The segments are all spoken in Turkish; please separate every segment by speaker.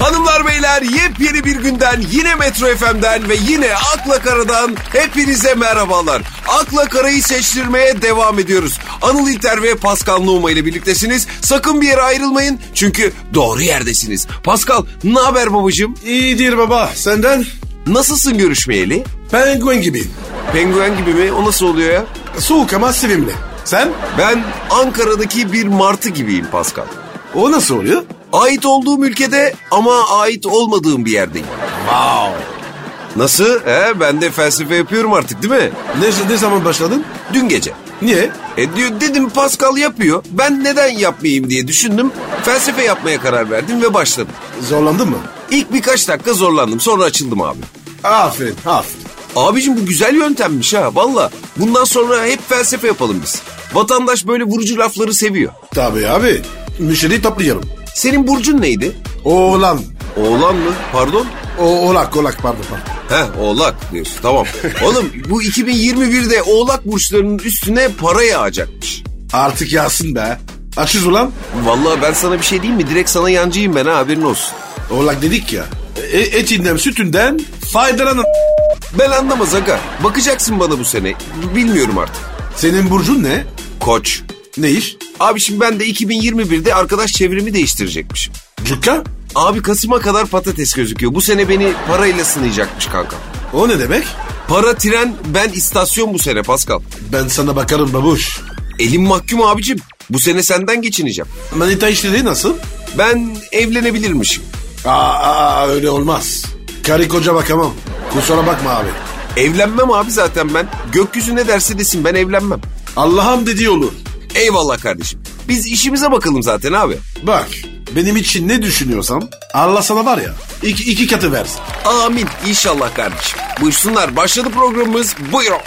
Speaker 1: Hanımlar beyler yepyeni bir günden yine Metro FM'den ve yine Akla Kara'dan hepinize merhabalar. Akla Kara'yı seçtirmeye devam ediyoruz. Anıl İlter ve Pascal Numa ile birliktesiniz. Sakın bir yere ayrılmayın çünkü doğru yerdesiniz. Pascal ne haber babacığım?
Speaker 2: İyidir baba senden
Speaker 1: Nasılsın görüşmeyeli?
Speaker 2: penguen gibiyim.
Speaker 1: Penguen gibi mi? O nasıl oluyor ya?
Speaker 2: Soğuk ama sevimli. Sen?
Speaker 1: Ben Ankara'daki bir martı gibiyim Pascal.
Speaker 2: O nasıl oluyor?
Speaker 1: Ait olduğum ülkede ama ait olmadığım bir yerdeyim.
Speaker 2: Wow.
Speaker 1: Nasıl? He, ben de felsefe yapıyorum artık değil mi?
Speaker 2: Ne, ne zaman başladın?
Speaker 1: Dün gece.
Speaker 2: Niye?
Speaker 1: E diyor, dedim Pascal yapıyor. Ben neden yapmayayım diye düşündüm. Felsefe yapmaya karar verdim ve başladım.
Speaker 2: Zorlandın mı?
Speaker 1: İlk birkaç dakika zorlandım sonra açıldım abi.
Speaker 2: Aferin aferin.
Speaker 1: Abicim bu güzel yöntemmiş ha valla. Bundan sonra hep felsefe yapalım biz. Vatandaş böyle vurucu lafları seviyor.
Speaker 2: Tabii abi. Müşteri toplayalım.
Speaker 1: Senin burcun neydi?
Speaker 2: Oğlan.
Speaker 1: Oğlan mı? Pardon?
Speaker 2: O, oğlak oğlak pardon pardon.
Speaker 1: Heh oğlak diyorsun tamam. Oğlum bu 2021'de oğlak burçlarının üstüne para yağacakmış.
Speaker 2: Artık yağsın be. Açız ulan.
Speaker 1: Vallahi ben sana bir şey diyeyim mi? Direkt sana yancıyım ben ha haberin olsun.
Speaker 2: Oğlak dedik ya. E, etinden sütünden faydalanan.
Speaker 1: Ben anlamaz aga. Bakacaksın bana bu sene. Bilmiyorum artık.
Speaker 2: Senin burcun ne?
Speaker 1: Koç.
Speaker 2: Ne iş?
Speaker 1: Abi şimdi ben de 2021'de arkadaş çevremi değiştirecekmişim.
Speaker 2: Cukka.
Speaker 1: Abi Kasım'a kadar patates gözüküyor. Bu sene beni parayla sınayacakmış kanka.
Speaker 2: O ne demek?
Speaker 1: Para tren ben istasyon bu sene Pascal.
Speaker 2: Ben sana bakarım babuş.
Speaker 1: Elim mahkum abicim. Bu sene senden geçineceğim.
Speaker 2: Manita işleri nasıl?
Speaker 1: Ben evlenebilirmişim.
Speaker 2: Aa, aa, öyle olmaz. Karı koca bakamam. Kusura bakma abi.
Speaker 1: Evlenmem abi zaten ben. Gökyüzü ne derse desin ben evlenmem.
Speaker 2: Allah'ım dediği olur.
Speaker 1: Eyvallah kardeşim. Biz işimize bakalım zaten abi.
Speaker 2: Bak benim için ne düşünüyorsam Allah sana var ya iki, iki katı versin.
Speaker 1: Amin inşallah kardeşim. Buyursunlar başladı programımız. Buyurun.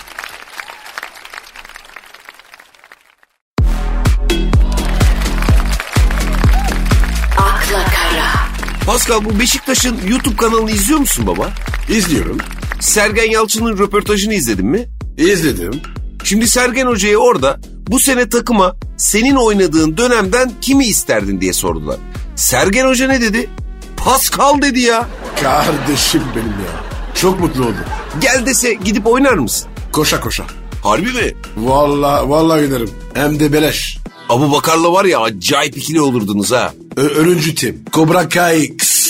Speaker 3: akla kara,
Speaker 1: Pascal bu Beşiktaş'ın YouTube kanalını izliyor musun baba?
Speaker 2: İzliyorum.
Speaker 1: Sergen Yalçın'ın röportajını izledin mi?
Speaker 2: İzledim.
Speaker 1: Şimdi Sergen Hoca'ya orada bu sene takıma senin oynadığın dönemden kimi isterdin diye sordular. Sergen Hoca ne dedi? Pascal dedi ya.
Speaker 2: Kardeşim benim ya. Çok mutlu oldum.
Speaker 1: Gel dese gidip oynar mısın?
Speaker 2: Koşa koşa.
Speaker 1: Harbi mi?
Speaker 2: Vallahi vallahi oynarım. Hem de beleş.
Speaker 1: Abu Bakar'la var ya acayip ikili olurdunuz ha.
Speaker 2: Ö- ölüncü tim. Kobra Kai. Kıs.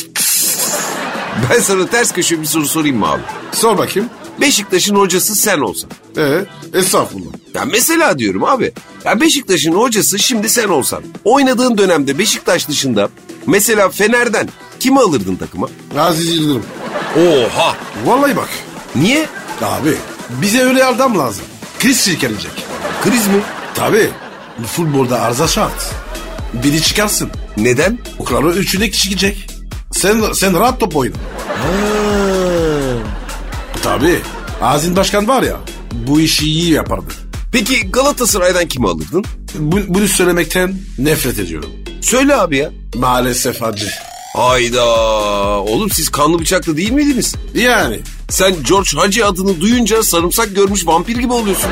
Speaker 1: Ben sana ters köşe bir soru sorayım mı abi?
Speaker 2: Sor bakayım.
Speaker 1: Beşiktaş'ın hocası sen olsan.
Speaker 2: Ee, estağfurullah.
Speaker 1: Ya mesela diyorum abi. Ya Beşiktaş'ın hocası şimdi sen olsan. Oynadığın dönemde Beşiktaş dışında mesela Fener'den kimi alırdın takıma?
Speaker 2: Aziz Yıldırım.
Speaker 1: Oha!
Speaker 2: Vallahi bak.
Speaker 1: Niye?
Speaker 2: Abi bize öyle adam lazım. Kriz çekilecek.
Speaker 1: Kriz mi?
Speaker 2: Tabii. Futbolda arıza şart. Biri çıkarsın.
Speaker 1: Neden?
Speaker 2: O kadar üçüne kişi gidecek. Sen, sen rahat top oyna. Tabii. Azin Başkan var ya. Bu işi iyi yapardı.
Speaker 1: Peki Galatasaray'dan kimi alırdın?
Speaker 2: Bu, bunu söylemekten nefret ediyorum.
Speaker 1: Söyle abi ya.
Speaker 2: Maalesef acı.
Speaker 1: Hayda! Oğlum siz kanlı bıçaklı değil miydiniz?
Speaker 2: Yani
Speaker 1: Sen George Hacı adını duyunca sarımsak görmüş vampir gibi oluyorsun.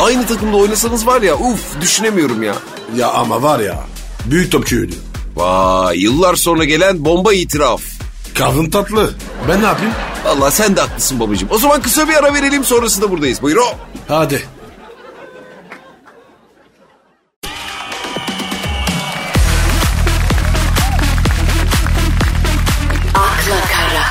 Speaker 1: Aynı takımda oynasanız var ya uf düşünemiyorum ya.
Speaker 2: ya ama var ya. Büyük topçuydu.
Speaker 1: Vay yıllar sonra gelen bomba itiraf.
Speaker 2: Kavun tatlı. Ben ne yapayım?
Speaker 1: Valla sen de haklısın babacığım. O zaman kısa bir ara verelim sonrasında buradayız. Buyur o.
Speaker 2: Hadi.
Speaker 3: akla kara,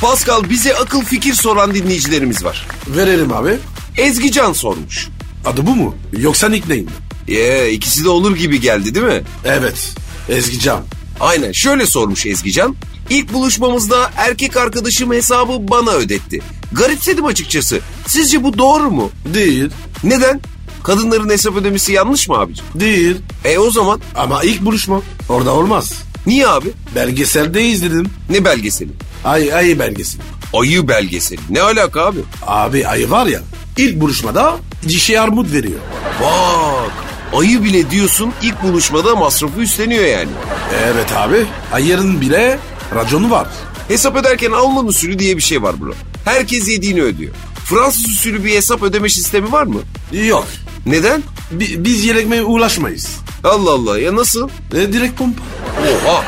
Speaker 1: Pascal bize akıl fikir soran dinleyicilerimiz var.
Speaker 2: Verelim abi.
Speaker 1: Ezgi Can sormuş.
Speaker 2: Adı bu mu? Yoksa nickname mi?
Speaker 1: Ye ikisi de olur gibi geldi değil mi?
Speaker 2: Evet. Ezgi Can.
Speaker 1: Aynen şöyle sormuş Ezgican. İlk buluşmamızda erkek arkadaşım hesabı bana ödetti. Garipsedim açıkçası. Sizce bu doğru mu?
Speaker 2: Değil.
Speaker 1: Neden? Kadınların hesap ödemesi yanlış mı abicim?
Speaker 2: Değil.
Speaker 1: E o zaman
Speaker 2: Ama ilk buluşma. Orada olmaz.
Speaker 1: niye abi?
Speaker 2: Belgeselde izledim.
Speaker 1: Ne belgeseli?
Speaker 2: Ay ayı belgeseli.
Speaker 1: Ayı belgeseli. Ne alaka abi?
Speaker 2: Abi ayı var ya ilk buluşmada dişi armut veriyor.
Speaker 1: Bak ayı bile diyorsun ilk buluşmada masrafı üstleniyor yani.
Speaker 2: Evet abi ayının bile raconu var.
Speaker 1: Hesap öderken Alman usulü diye bir şey var bro. Herkes yediğini ödüyor. Fransız usulü bir hesap ödeme sistemi var mı?
Speaker 2: Yok
Speaker 1: Neden?
Speaker 2: bi- biz yelekmeye ulaşmayız.
Speaker 1: Allah Allah ya nasıl?
Speaker 2: E, direkt pompa.
Speaker 1: Oha.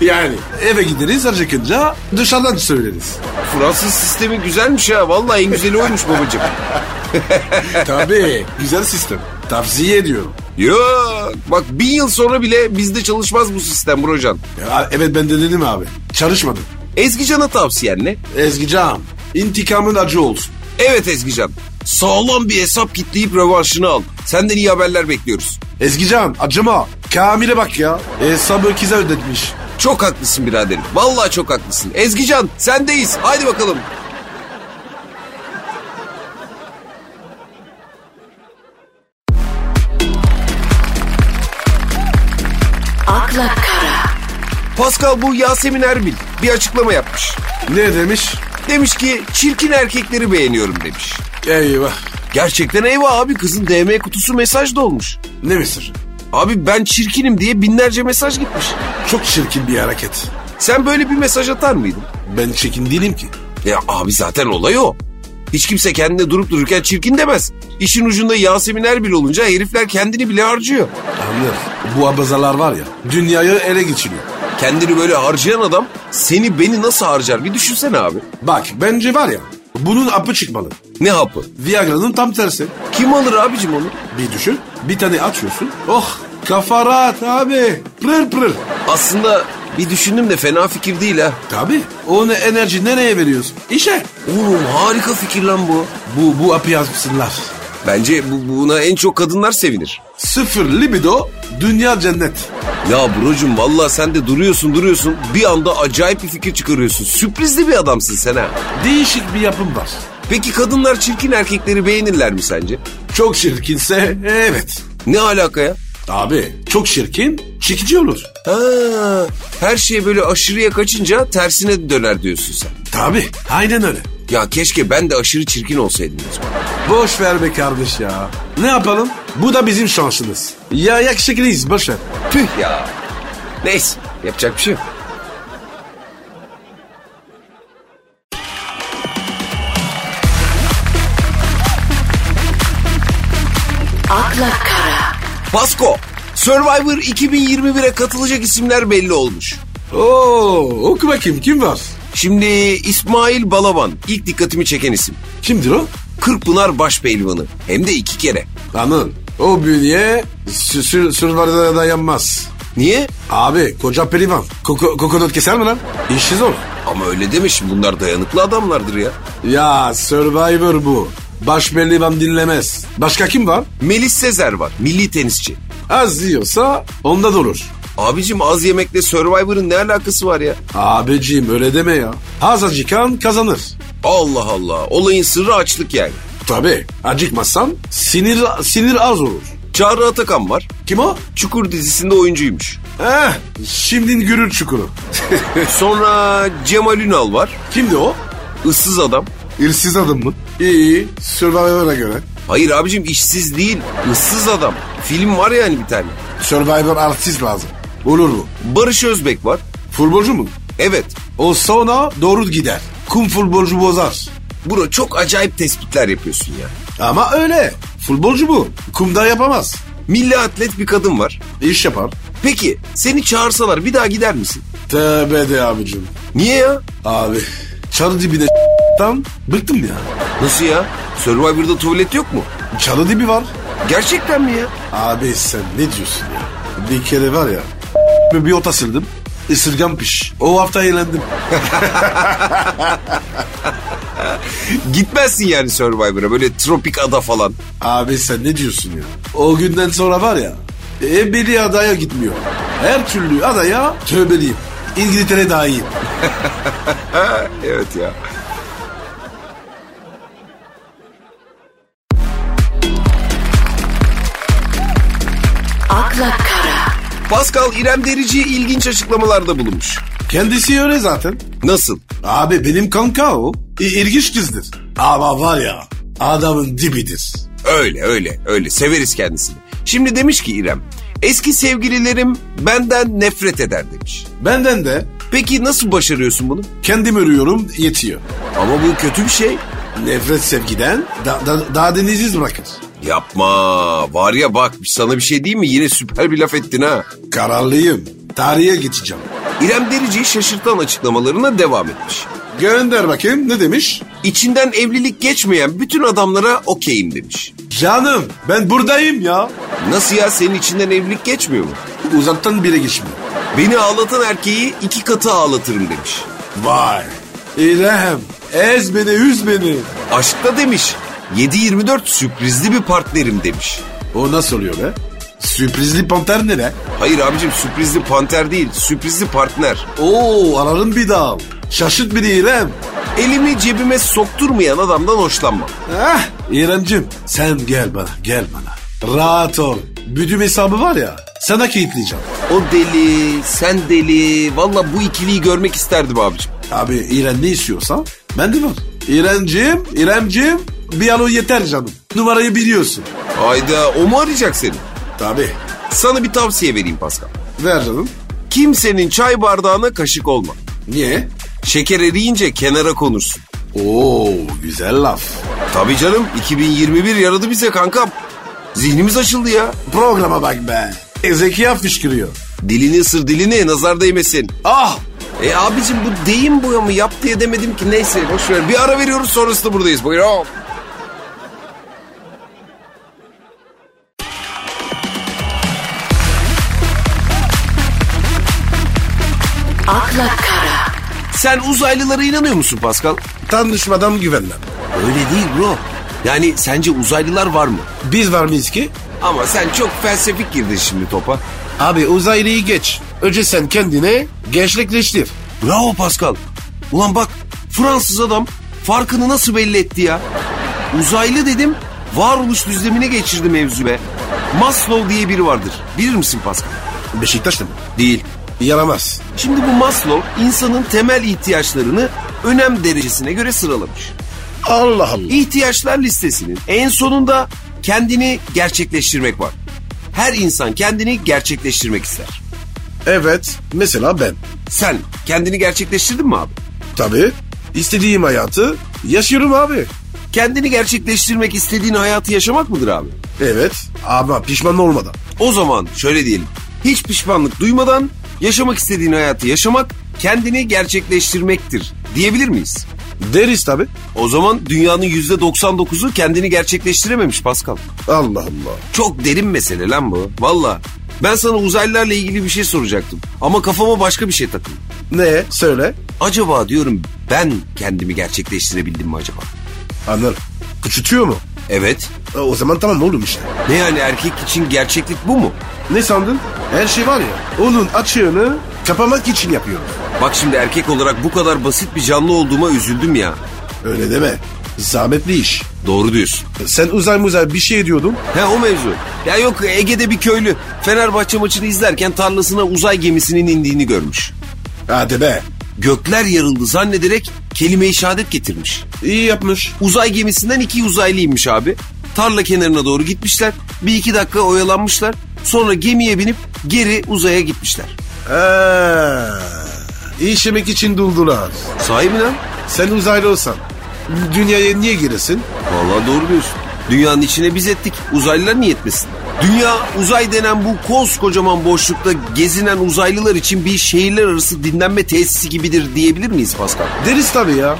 Speaker 2: yani eve gideriz acıkınca dışarıdan söyleriz.
Speaker 1: Fransız sistemi güzelmiş ha. Vallahi en güzeli oymuş babacığım.
Speaker 2: Tabii güzel sistem. Tavsiye ediyorum.
Speaker 1: Yok. Bak bin yıl sonra bile bizde çalışmaz bu sistem Brocan.
Speaker 2: Ya, evet ben de dedim abi. Çalışmadım.
Speaker 1: Ezgican'a tavsiyen ne?
Speaker 2: Ezgican intikamın acı olsun.
Speaker 1: Evet Ezgican. Sağlam bir hesap kitleyip rövanşını al. Senden iyi haberler bekliyoruz.
Speaker 2: Ezgican acıma. Kamil'e bak ya. Hesabı kize ödetmiş.
Speaker 1: Çok haklısın biraderim. Vallahi çok haklısın. Ezgican sendeyiz. Haydi bakalım.
Speaker 3: akla kara,
Speaker 1: Pascal bu Yasemin Erbil bir açıklama yapmış.
Speaker 2: Ne demiş?
Speaker 1: Demiş ki çirkin erkekleri beğeniyorum demiş.
Speaker 2: Eyvah.
Speaker 1: Gerçekten eyvah abi kızın DM kutusu mesaj dolmuş.
Speaker 2: Ne misin?
Speaker 1: Abi ben çirkinim diye binlerce mesaj gitmiş.
Speaker 2: Çok çirkin bir hareket.
Speaker 1: Sen böyle bir mesaj atar mıydın?
Speaker 2: Ben çirkin değilim ki.
Speaker 1: Ya abi zaten olay o. Hiç kimse kendine durup dururken çirkin demez. İşin ucunda Yasemin Erbil olunca herifler kendini bile harcıyor.
Speaker 2: Anlıyorum. Bu abazalar var ya dünyayı ele geçiriyor.
Speaker 1: Kendini böyle harcayan adam seni beni nasıl harcar bir düşünsene abi.
Speaker 2: Bak bence var ya bunun apı çıkmalı.
Speaker 1: Ne hapı?
Speaker 2: Viagra'nın tam tersi.
Speaker 1: Kim alır abicim onu?
Speaker 2: Bir düşün bir tane açıyorsun. Oh kafa rahat abi. Pırır pırır.
Speaker 1: Aslında bir düşündüm de fena fikir değil ha.
Speaker 2: Tabii. Onu enerji nereye veriyorsun? İşe.
Speaker 1: Oğlum harika fikir lan bu.
Speaker 2: Bu, bu apı yazmışsınlar.
Speaker 1: Bence bu- buna en çok kadınlar sevinir.
Speaker 2: Sıfır libido dünya cennet.
Speaker 1: Ya brocum vallahi sen de duruyorsun duruyorsun bir anda acayip bir fikir çıkarıyorsun. Sürprizli bir adamsın sen ha.
Speaker 2: Değişik bir yapım var.
Speaker 1: Peki kadınlar çirkin erkekleri beğenirler mi sence?
Speaker 2: Çok çirkinse evet.
Speaker 1: Ne alaka ya?
Speaker 2: Abi çok çirkin çekici olur.
Speaker 1: Ha, her şey böyle aşırıya kaçınca tersine döner diyorsun sen.
Speaker 2: Tabii aynen öyle.
Speaker 1: Ya keşke ben de aşırı çirkin olsaydım. o zaman.
Speaker 2: Boş ver be kardeş ya. Ne yapalım? Bu da bizim şansımız. Ya yakışıklıyız boş ver.
Speaker 1: Püh ya. Neyse yapacak bir şey yok.
Speaker 3: akla kara,
Speaker 1: Pasko, Survivor 2021'e katılacak isimler belli olmuş.
Speaker 2: Oo, oku bakayım kim var?
Speaker 1: Şimdi İsmail Balaban ilk dikkatimi çeken isim.
Speaker 2: Kimdir o?
Speaker 1: Kırkpınar baş pehlivanı hem de iki kere.
Speaker 2: Anıl. O bünye sü- sü- sürvarda dayanmaz.
Speaker 1: Niye?
Speaker 2: Abi koca pelivan. Koko, kokonat keser mi lan? İşi zor.
Speaker 1: Ama öyle deme şimdi bunlar dayanıklı adamlardır ya.
Speaker 2: Ya Survivor bu. Baş pelivan dinlemez. Başka kim var?
Speaker 1: Melis Sezer var milli tenisçi.
Speaker 2: Az diyorsa onda da olur.
Speaker 1: Abicim az yemekle Survivor'ın ne alakası var ya?
Speaker 2: Abiciğim öyle deme ya. Az acıkan kazanır.
Speaker 1: Allah Allah olayın sırrı açlık yani.
Speaker 2: Tabii acıkmazsan sinir sinir az olur.
Speaker 1: Çağrı Atakan var.
Speaker 2: Kim o?
Speaker 1: Çukur dizisinde oyuncuymuş.
Speaker 2: Eh, şimdi görür çukuru.
Speaker 1: Sonra Cemal Ünal var.
Speaker 2: Kimdi o?
Speaker 1: Issız adam.
Speaker 2: İrsiz adım mı? İyi, Survivor'a göre.
Speaker 1: Hayır abicim işsiz değil. ıssız adam. Film var yani bir tane.
Speaker 2: Survivor artist lazım. Olur mu?
Speaker 1: Barış Özbek var.
Speaker 2: Futbolcu mu?
Speaker 1: Evet.
Speaker 2: O sonra doğru gider. Kum futbolcu bozar.
Speaker 1: Bro çok acayip tespitler yapıyorsun ya.
Speaker 2: Ama öyle. Futbolcu bu. Kumda yapamaz.
Speaker 1: Milli atlet bir kadın var.
Speaker 2: İş yapar.
Speaker 1: Peki seni çağırsalar bir daha gider misin?
Speaker 2: Tövbe de abicim.
Speaker 1: Niye ya?
Speaker 2: Abi. Çalı dibine tam bıktım ya.
Speaker 1: Nasıl ya? Survivor'da tuvalet yok mu?
Speaker 2: Çalı dibi var.
Speaker 1: Gerçekten mi ya?
Speaker 2: Abi sen ne diyorsun ya? Bir kere var ya. Bir ota sildim. Isırgan piş. O hafta eğlendim.
Speaker 1: Gitmezsin yani Survivor'a böyle tropik ada falan.
Speaker 2: Abi sen ne diyorsun ya? O günden sonra var ya ebedi adaya gitmiyor. Her türlü adaya tövbeliyim. İngiltere daha iyi.
Speaker 1: Evet ya.
Speaker 3: akla kara,
Speaker 1: Pascal İrem Derici ilginç açıklamalarda bulunmuş.
Speaker 2: Kendisi öyle zaten.
Speaker 1: Nasıl?
Speaker 2: Abi benim kanka o. İ- İlginç kızdır. Ama var ya adamın dibidir.
Speaker 1: Öyle öyle öyle severiz kendisini. Şimdi demiş ki İrem eski sevgililerim benden nefret eder demiş.
Speaker 2: Benden de
Speaker 1: Peki nasıl başarıyorsun bunu?
Speaker 2: kendim örüyorum yetiyor.
Speaker 1: Ama bu kötü bir şey.
Speaker 2: Nefret sevgiden da, da- daha deniziz bırakır.
Speaker 1: Yapma var ya bak sana bir şey değil mi yine süper bir laf ettin ha.
Speaker 2: Kararlıyım. Tarihe geçeceğim.
Speaker 1: İrem Derici'yi şaşırtan açıklamalarına devam etmiş.
Speaker 2: Gönder bakayım ne demiş?
Speaker 1: İçinden evlilik geçmeyen bütün adamlara okeyim demiş.
Speaker 2: Canım ben buradayım ya.
Speaker 1: Nasıl ya senin içinden evlilik geçmiyor mu?
Speaker 2: Uzaktan bile geçmiyor.
Speaker 1: Beni ağlatan erkeği iki katı ağlatırım demiş.
Speaker 2: Vay. İrem ez beni üz beni.
Speaker 1: Aşkta demiş 7-24 sürprizli bir partnerim demiş.
Speaker 2: O nasıl oluyor be? Sürprizli panter ne lan?
Speaker 1: Hayır abicim sürprizli panter değil sürprizli partner.
Speaker 2: Oo ararım bir daha. Şaşırt beni İrem.
Speaker 1: Elimi cebime sokturmayan adamdan hoşlanmam.
Speaker 2: Heh, İremcim sen gel bana gel bana. Rahat ol. Büdüm hesabı var ya sana kilitleyeceğim.
Speaker 1: O deli, sen deli. Valla bu ikiliyi görmek isterdim abicim.
Speaker 2: Abi İrem ne istiyorsa ben de var. İremcim, İremcim bir an o yeter canım. Numarayı biliyorsun.
Speaker 1: Hayda o mu arayacak seni?
Speaker 2: Tabii.
Speaker 1: Sana bir tavsiye vereyim Pascal.
Speaker 2: Ver canım.
Speaker 1: Kimsenin çay bardağına kaşık olma.
Speaker 2: Niye?
Speaker 1: Şeker eriyince kenara konursun.
Speaker 2: Oo güzel laf.
Speaker 1: Tabii canım 2021 yaradı bize kankam. Zihnimiz açıldı ya.
Speaker 2: Programa bak be. E, Zekiye fışkırıyor.
Speaker 1: Dilini ısır dilini nazar değmesin.
Speaker 2: Ah
Speaker 1: E abicim bu deyim boya mı yap diye demedim ki neyse boş ver. Bir ara veriyoruz sonrasında buradayız. Buyurun.
Speaker 3: akla kara,
Speaker 1: Sen uzaylılara inanıyor musun Pascal?
Speaker 2: tanışmadan güvenmem.
Speaker 1: Öyle değil bro. Yani sence uzaylılar var mı?
Speaker 2: Biz var mıyız ki?
Speaker 1: Ama sen çok felsefik girdin şimdi topa.
Speaker 2: Abi uzaylıyı geç. Önce sen kendine gençlikleştir.
Speaker 1: Bravo Pascal. Ulan bak Fransız adam farkını nasıl belli etti ya? Uzaylı dedim varoluş düzlemine geçirdi mevzu be. Maslow diye biri vardır. Bilir misin Pascal?
Speaker 2: Beşiktaşlı mı?
Speaker 1: Değil.
Speaker 2: Yaramaz.
Speaker 1: Şimdi bu Maslow insanın temel ihtiyaçlarını önem derecesine göre sıralamış.
Speaker 2: Allah Allah.
Speaker 1: İhtiyaçlar listesinin en sonunda kendini gerçekleştirmek var. Her insan kendini gerçekleştirmek ister.
Speaker 2: Evet mesela ben.
Speaker 1: Sen kendini gerçekleştirdin mi abi?
Speaker 2: Tabii istediğim hayatı yaşıyorum abi.
Speaker 1: Kendini gerçekleştirmek istediğin hayatı yaşamak mıdır abi?
Speaker 2: Evet ama pişman olmadan.
Speaker 1: O zaman şöyle diyelim. Hiç pişmanlık duymadan yaşamak istediğin hayatı yaşamak kendini gerçekleştirmektir diyebilir miyiz?
Speaker 2: Deriz tabii.
Speaker 1: O zaman dünyanın %99'u kendini gerçekleştirememiş Pascal.
Speaker 2: Allah Allah.
Speaker 1: Çok derin mesele lan bu. Valla. Ben sana uzaylılarla ilgili bir şey soracaktım. Ama kafama başka bir şey takıldı.
Speaker 2: Ne söyle.
Speaker 1: Acaba diyorum ben kendimi gerçekleştirebildim mi acaba?
Speaker 2: Anlarım. Küçültüyor mu?
Speaker 1: Evet.
Speaker 2: E, O zaman tamam oğlum işte.
Speaker 1: Ne yani erkek için gerçeklik bu mu?
Speaker 2: Ne sandın? Her şey var ya. Onun açığını kapamak için yapıyorum.
Speaker 1: Bak şimdi erkek olarak bu kadar basit bir canlı olduğuma üzüldüm ya.
Speaker 2: Öyle deme. Zahmetli iş.
Speaker 1: Doğru diyorsun.
Speaker 2: Sen uzay muzay bir şey diyordun.
Speaker 1: He o mevzu. Ya yok Ege'de bir köylü Fenerbahçe maçını izlerken tarlasına uzay gemisinin indiğini görmüş.
Speaker 2: Hadi be.
Speaker 1: Gökler yarıldı zannederek kelime-i şehadet getirmiş.
Speaker 2: İyi yapmış.
Speaker 1: Uzay gemisinden iki uzaylı inmiş abi. Tarla kenarına doğru gitmişler. Bir iki dakika oyalanmışlar. Sonra gemiye binip geri uzaya gitmişler.
Speaker 2: Ee, işemek için duldular.
Speaker 1: Sahi mi lan?
Speaker 2: Sen uzaylı olsan dünyaya niye giresin?
Speaker 1: Vallahi doğru diyorsun. Dünyanın içine biz ettik. Uzaylılar niye etmesin? Dünya uzay denen bu koskocaman boşlukta gezinen uzaylılar için bir şehirler arası dinlenme tesisi gibidir diyebilir miyiz Pascal?
Speaker 2: Deriz tabii ya.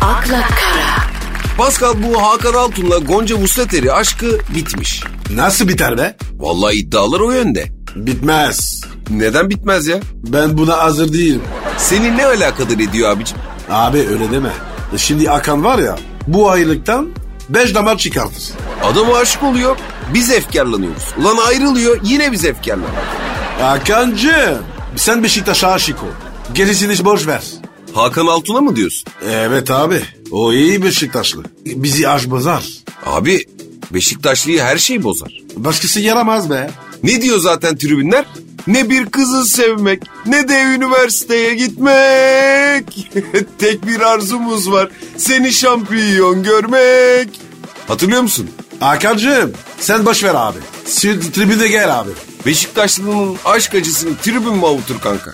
Speaker 3: akla kara,
Speaker 1: Pascal bu Hakan Altun'la Gonca Vuslateri aşkı bitmiş.
Speaker 2: Nasıl biter be?
Speaker 1: Vallahi iddialar o yönde.
Speaker 2: Bitmez.
Speaker 1: Neden bitmez ya?
Speaker 2: Ben buna hazır değilim.
Speaker 1: Seni ne alakadar ediyor abicim?
Speaker 2: Abi öyle deme. E Şimdi Akan var ya bu aylıktan beş damar çıkartır.
Speaker 1: Adam aşık oluyor, biz efkarlanıyoruz. Ulan ayrılıyor, yine biz efkarlanıyoruz.
Speaker 2: Akancı sen Beşiktaş'a aşık ol. Gerisini boş ver.
Speaker 1: Hakan Altun'a mı diyorsun?
Speaker 2: Evet abi o iyi Beşiktaşlı. Bizi aş bozar.
Speaker 1: Abi, Beşiktaşlı'yı her şey bozar.
Speaker 2: Başkası yaramaz be.
Speaker 1: Ne diyor zaten tribünler? Ne bir kızı sevmek, ne de üniversiteye gitmek. Tek bir arzumuz var, seni şampiyon görmek. Hatırlıyor musun?
Speaker 2: Akancığım sen boş ver abi. Sü- Tribüne gel abi.
Speaker 1: Beşiktaşlı'nın aşk acısını tribün mü avutur kanka?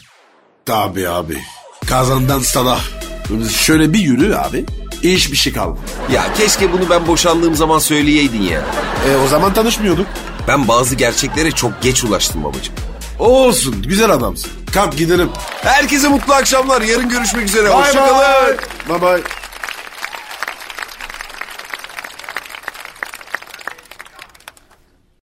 Speaker 2: Tabii abi. Kazandan stada. Şöyle bir yürü abi. Hiçbir şey kalmadı.
Speaker 1: Ya keşke bunu ben boşandığım zaman söyleyeydin ya.
Speaker 2: E, o zaman tanışmıyorduk.
Speaker 1: Ben bazı gerçeklere çok geç ulaştım babacığım.
Speaker 2: Olsun güzel adamsın. Kalk gidelim.
Speaker 1: Herkese mutlu akşamlar. Yarın görüşmek üzere.
Speaker 2: Hoşça
Speaker 1: Hoşçakalın.
Speaker 2: kalın. Bye bye.